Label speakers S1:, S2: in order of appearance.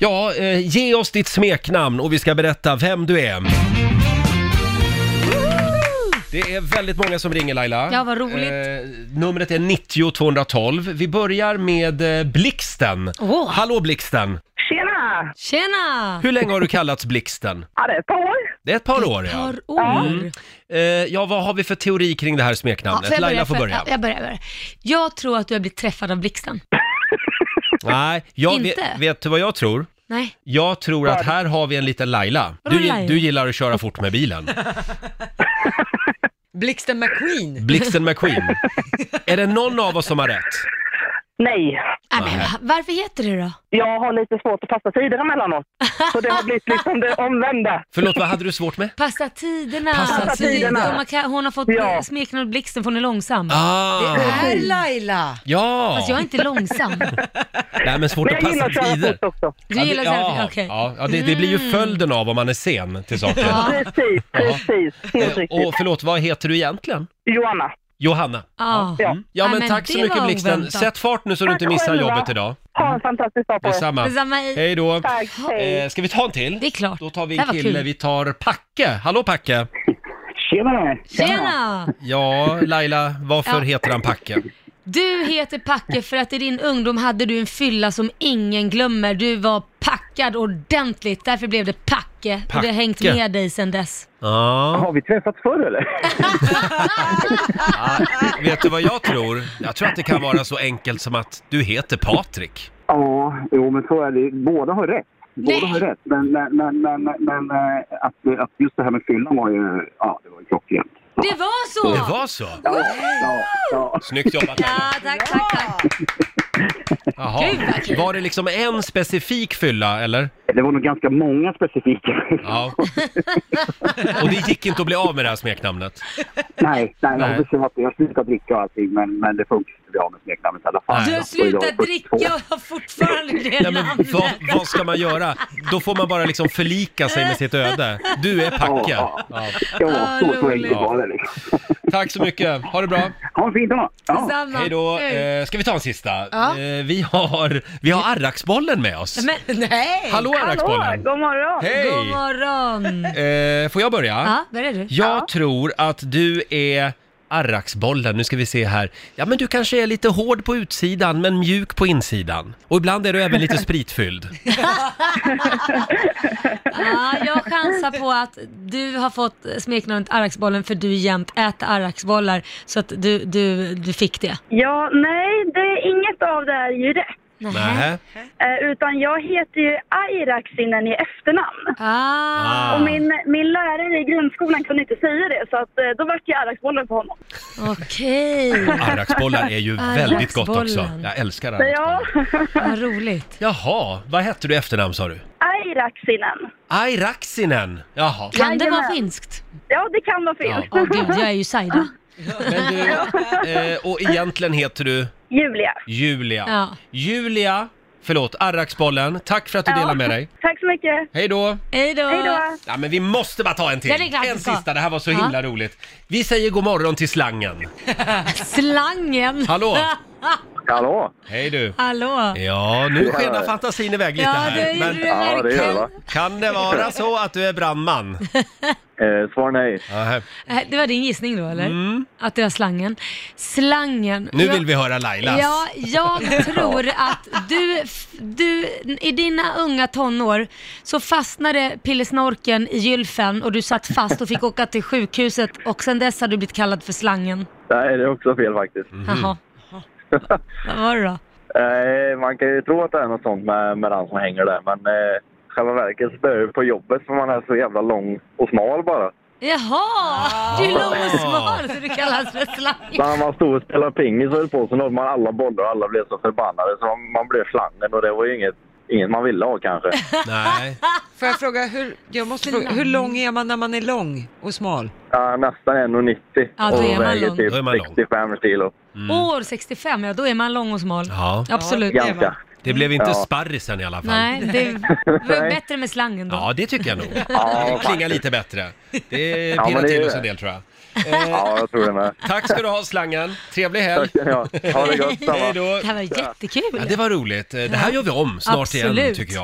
S1: Ja, eh, ge oss ditt smeknamn och vi ska berätta vem du är. Det är väldigt många som ringer Laila.
S2: Ja, vad roligt.
S1: Eh, numret är 90 212. Vi börjar med eh, Blixten.
S2: Åh.
S1: Hallå Blixten!
S3: Tjena!
S2: Tjena!
S1: Hur länge har du kallats Blixten?
S3: Ja, det är ett par år.
S1: Det är ett par år ja.
S2: Par år.
S1: Mm. Eh, ja, vad har vi för teori kring det här smeknamnet?
S2: jag
S1: Laila
S2: börjar?
S1: får
S2: För-
S1: börja.
S2: Ja, jag börjar, jag börjar. Jag tror att du har blivit träffad av blixten.
S1: Nej, jag vet,
S2: Inte?
S1: vet du vad jag tror?
S2: Nej.
S1: Jag tror att här har vi en liten Laila.
S2: Vadå
S1: Du,
S2: Laila?
S1: du gillar att köra fort med bilen.
S4: Blixten McQueen.
S1: Blixten McQueen. Är det någon av oss som har rätt?
S3: Nej,
S2: Nej,
S1: Nej.
S2: men, va- varför heter du då?
S3: jag har lite svårt att passa tider emellanåt. Så det har blivit liksom det omvända.
S1: Förlåt, vad hade du svårt med?
S2: Passa tiderna.
S1: Passa
S2: Det- det-
S3: tiderna.
S2: man kan- Hon har fått
S3: Ja.
S2: smeknamnet blixten för hon är långsam.
S1: Ah,
S4: Är Laila?
S1: ja!
S2: Fast jag är inte långsam.
S1: Nej, men svårt
S3: Men
S1: att
S3: jag gillar
S1: passa
S3: att köra
S1: tider.
S3: fort också.
S2: Du gillar
S1: ja, det-
S2: selfie,
S1: ja,
S2: okej. Mm.
S1: ja, ja, det, det blir ju följden av om man är sen till saker.
S2: Ja.
S3: Precis, precis. Helt
S1: Eh,
S3: riktigt.
S1: Och förlåt, vad heter du egentligen?
S3: Johanna.
S1: Johanna.
S2: Ja.
S3: Ja.
S1: Mm. Ja,
S2: Nej,
S1: men
S2: men
S1: tack så
S2: det
S1: mycket
S2: var
S1: Blixten.
S2: oväntat.
S1: Sätt fart nu så du inte
S3: Tack
S1: missar
S3: själva.
S1: jobbet idag.
S3: Ha en fantastisk dag på er.
S1: Detsamma.
S2: Detsamma i...
S1: Hej då.
S3: Tack, hej.
S1: Eh, ska vi ta en till?
S2: Det är klart.
S1: Då tar vi
S2: Det här
S1: en
S2: var
S1: kille.
S2: kul.
S1: Vi tar Packe. Hallå Packe!
S5: Tjena!
S2: Tjena!
S1: Ja, Laila, varför
S2: Ja.
S1: heter han Packe?
S2: Du heter Packe för att i din ungdom hade du en fylla som ingen glömmer. Du var packad ordentligt, därför blev det Packe. Och det
S1: Packe.
S2: har hängt med dig sedan dess.
S1: Ja.
S5: Har vi träffats förr eller?
S1: Ja, vet du vad jag tror? Jag tror att det kan vara så enkelt som att du heter Patrik.
S5: ja, jo men så är det. Båda har rätt. Båda
S2: Nej.
S5: har rätt. Men, men, men, men, men eh, att, att just det här med fyllan var ju, ja det var ju klockrent. Ja,
S2: Det var så!
S1: Det var så?
S5: ja, ja.
S1: Snyggt jobbat.
S2: Ja, tack, tack, tack.
S1: Jaha. Var det liksom en specifik fylla, eller?
S5: Det var nog ganska många specifika.
S1: Ja. Och det gick inte att bli av med det här smeknamnet?
S5: nej, nej,
S1: Nej.
S5: nej. Jag, har, jag har slutat dricka och allting men, men det funkar inte bra med smeknamnet i alla fall.
S2: Du har
S5: Så jag är
S2: slutat
S5: 42.
S2: dricka och har fortfarande det
S1: Nej, men
S2: namnet.
S1: vad, vad ska man göra? Då får man bara liksom förlika sig med sitt öde. Du är Packe.
S5: Ja,
S1: Ja.
S5: Ja,
S2: Ah,
S5: så, så
S2: roligt.
S5: enkelt var det liksom.
S1: Tack så mycket. Ha det bra.
S5: Ha en fin dag! Ja.
S2: Detsamma.
S1: Hej då.
S2: Hej.
S1: Eh, ska vi ta en sista?
S4: Ja.
S1: Eh, vi har, vi har Arraksbollen med oss.
S2: Men,
S4: Nej!
S1: Hallå
S3: Hallå,
S1: Arraksbollen!
S3: god morgon.
S2: god
S1: Hej!
S2: morgon!
S1: Eh, får jag börja?
S2: Ja, där är du.
S1: Jag tror att du är Arraksbollen, nu ska vi se här. Ja men du kanske är lite hård på utsidan men mjuk på insidan. Och ibland är du även lite spritfylld.
S2: Ja, jag chansar på att du har fått smeknamnet Arraksbollen för du jämt äter Arraksbollar. Så att du, du, du fick det.
S6: Ja, nej, det är inget av det här är ju rätt.
S1: Nähä.
S6: Eh, utan jag heter ju Airaxinen i efternamn.
S2: Ah,
S1: Ah.
S6: Och min, min lärare i grundskolan kunde inte säga det, så att, eh, då vart jag Airaxbollen på honom.
S2: okej.
S1: Arraksbollar är ju väldigt gott också.
S2: Arraksbollen.
S1: Jag älskar
S6: Så ja,
S1: arraksbollar.
S2: Vad roligt.
S1: Jaha, vad hette du i efternamn sa du?
S6: Airaxinen.
S1: Airaksinen! Jaha.
S2: Kan det vara
S6: Jajamän.
S2: finskt?
S6: Ja, det kan vara fel.
S2: Åh gud, jag är ju Saida.
S1: Men du, eh, och egentligen heter du
S6: Julia.
S1: Julia.
S2: Ja.
S1: Julia, förlåt, Arraksbollen. Tack för att du
S6: Ja.
S1: delar med dig.
S6: Tack så mycket.
S1: Hej då!
S2: Hej då!
S6: Hej då.
S1: Ja, men vi måste bara ta en till.
S2: Ja, det är klart vi
S1: en
S2: ska.
S1: sista, det här var så
S2: Ja.
S1: himla roligt. Vi säger god morgon till slangen.
S2: Slangen!
S1: Hallå.
S5: Hallå!
S1: Hej du.
S2: Hallå!
S1: Ja, nu skenar fantasin iväg lite
S2: Ja, det
S1: här.
S2: gjorde du
S1: Men
S5: Ja, det gör det,
S2: verkligen.
S5: va?
S1: kan det vara så att du är brandman?
S5: Eh, svar nej.
S1: Nähä.
S2: Eh, Det var din gissning då eller? Att det var slangen. Slangen.
S1: Mm. Nu
S2: Jag-
S1: vill vi höra Lailas.
S2: Ja, jag tror att du, f- du, i dina unga tonår så fastnade pillesnorken i gylfen och du satt fast och fick åka till sjukhuset och sen dess har du blivit kallad för slangen.
S5: Nej, det är också fel faktiskt.
S1: Mm. Mhm.
S2: Jaha. Vad var det då?
S5: Eh, man kan ju tro att det är något sånt med, med den som hänger där, men eh, själva verket så är det på jobbet för man är så jävla lång och smal bara.
S2: Jaha! Du är lång och smal så du kallas för slangen.
S5: När man stod och spelade pingis och höll på så nådde man alla bollar och alla blev så förbannade så man, man blev slangen och det var ju inget, inget man ville ha kanske.
S1: Nej.
S4: Får jag fråga, hur, jag måste fråga, hur lång är man när man är lång och smal?
S5: Ja, nästan 1,90
S2: Ja, då är
S5: och
S2: man
S5: väger
S2: lång.
S5: typ
S1: Då är man lång.
S5: 65 kilo.
S2: År 65, ja då är man lång och smal.
S1: Mm. Ja,
S2: Absolut.
S4: Ja.
S5: Ganska.
S1: det blev inte
S5: Ja.
S1: sparrisen i alla fall.
S2: Nej, det det var ju
S5: Nej.
S2: bättre med slangen då.
S1: Ja, det tycker jag nog.
S5: Ja,
S1: Det klingar
S5: faktiskt.
S1: lite bättre. Det
S5: men
S1: pirrar
S5: det är
S1: till
S5: ju
S1: oss
S5: det.
S1: en del tror jag. Eh,
S5: Ja, jag tror det med.
S1: Tack ska du ha slangen. Trevlig helg.
S5: Tack ska ni ha. Ha det gott. samma.
S1: Hej då.
S2: Det här var jättekul.
S1: Ja, Eh, det var roligt. Det här gör vi om snart igen
S2: Absolut.
S1: tycker jag.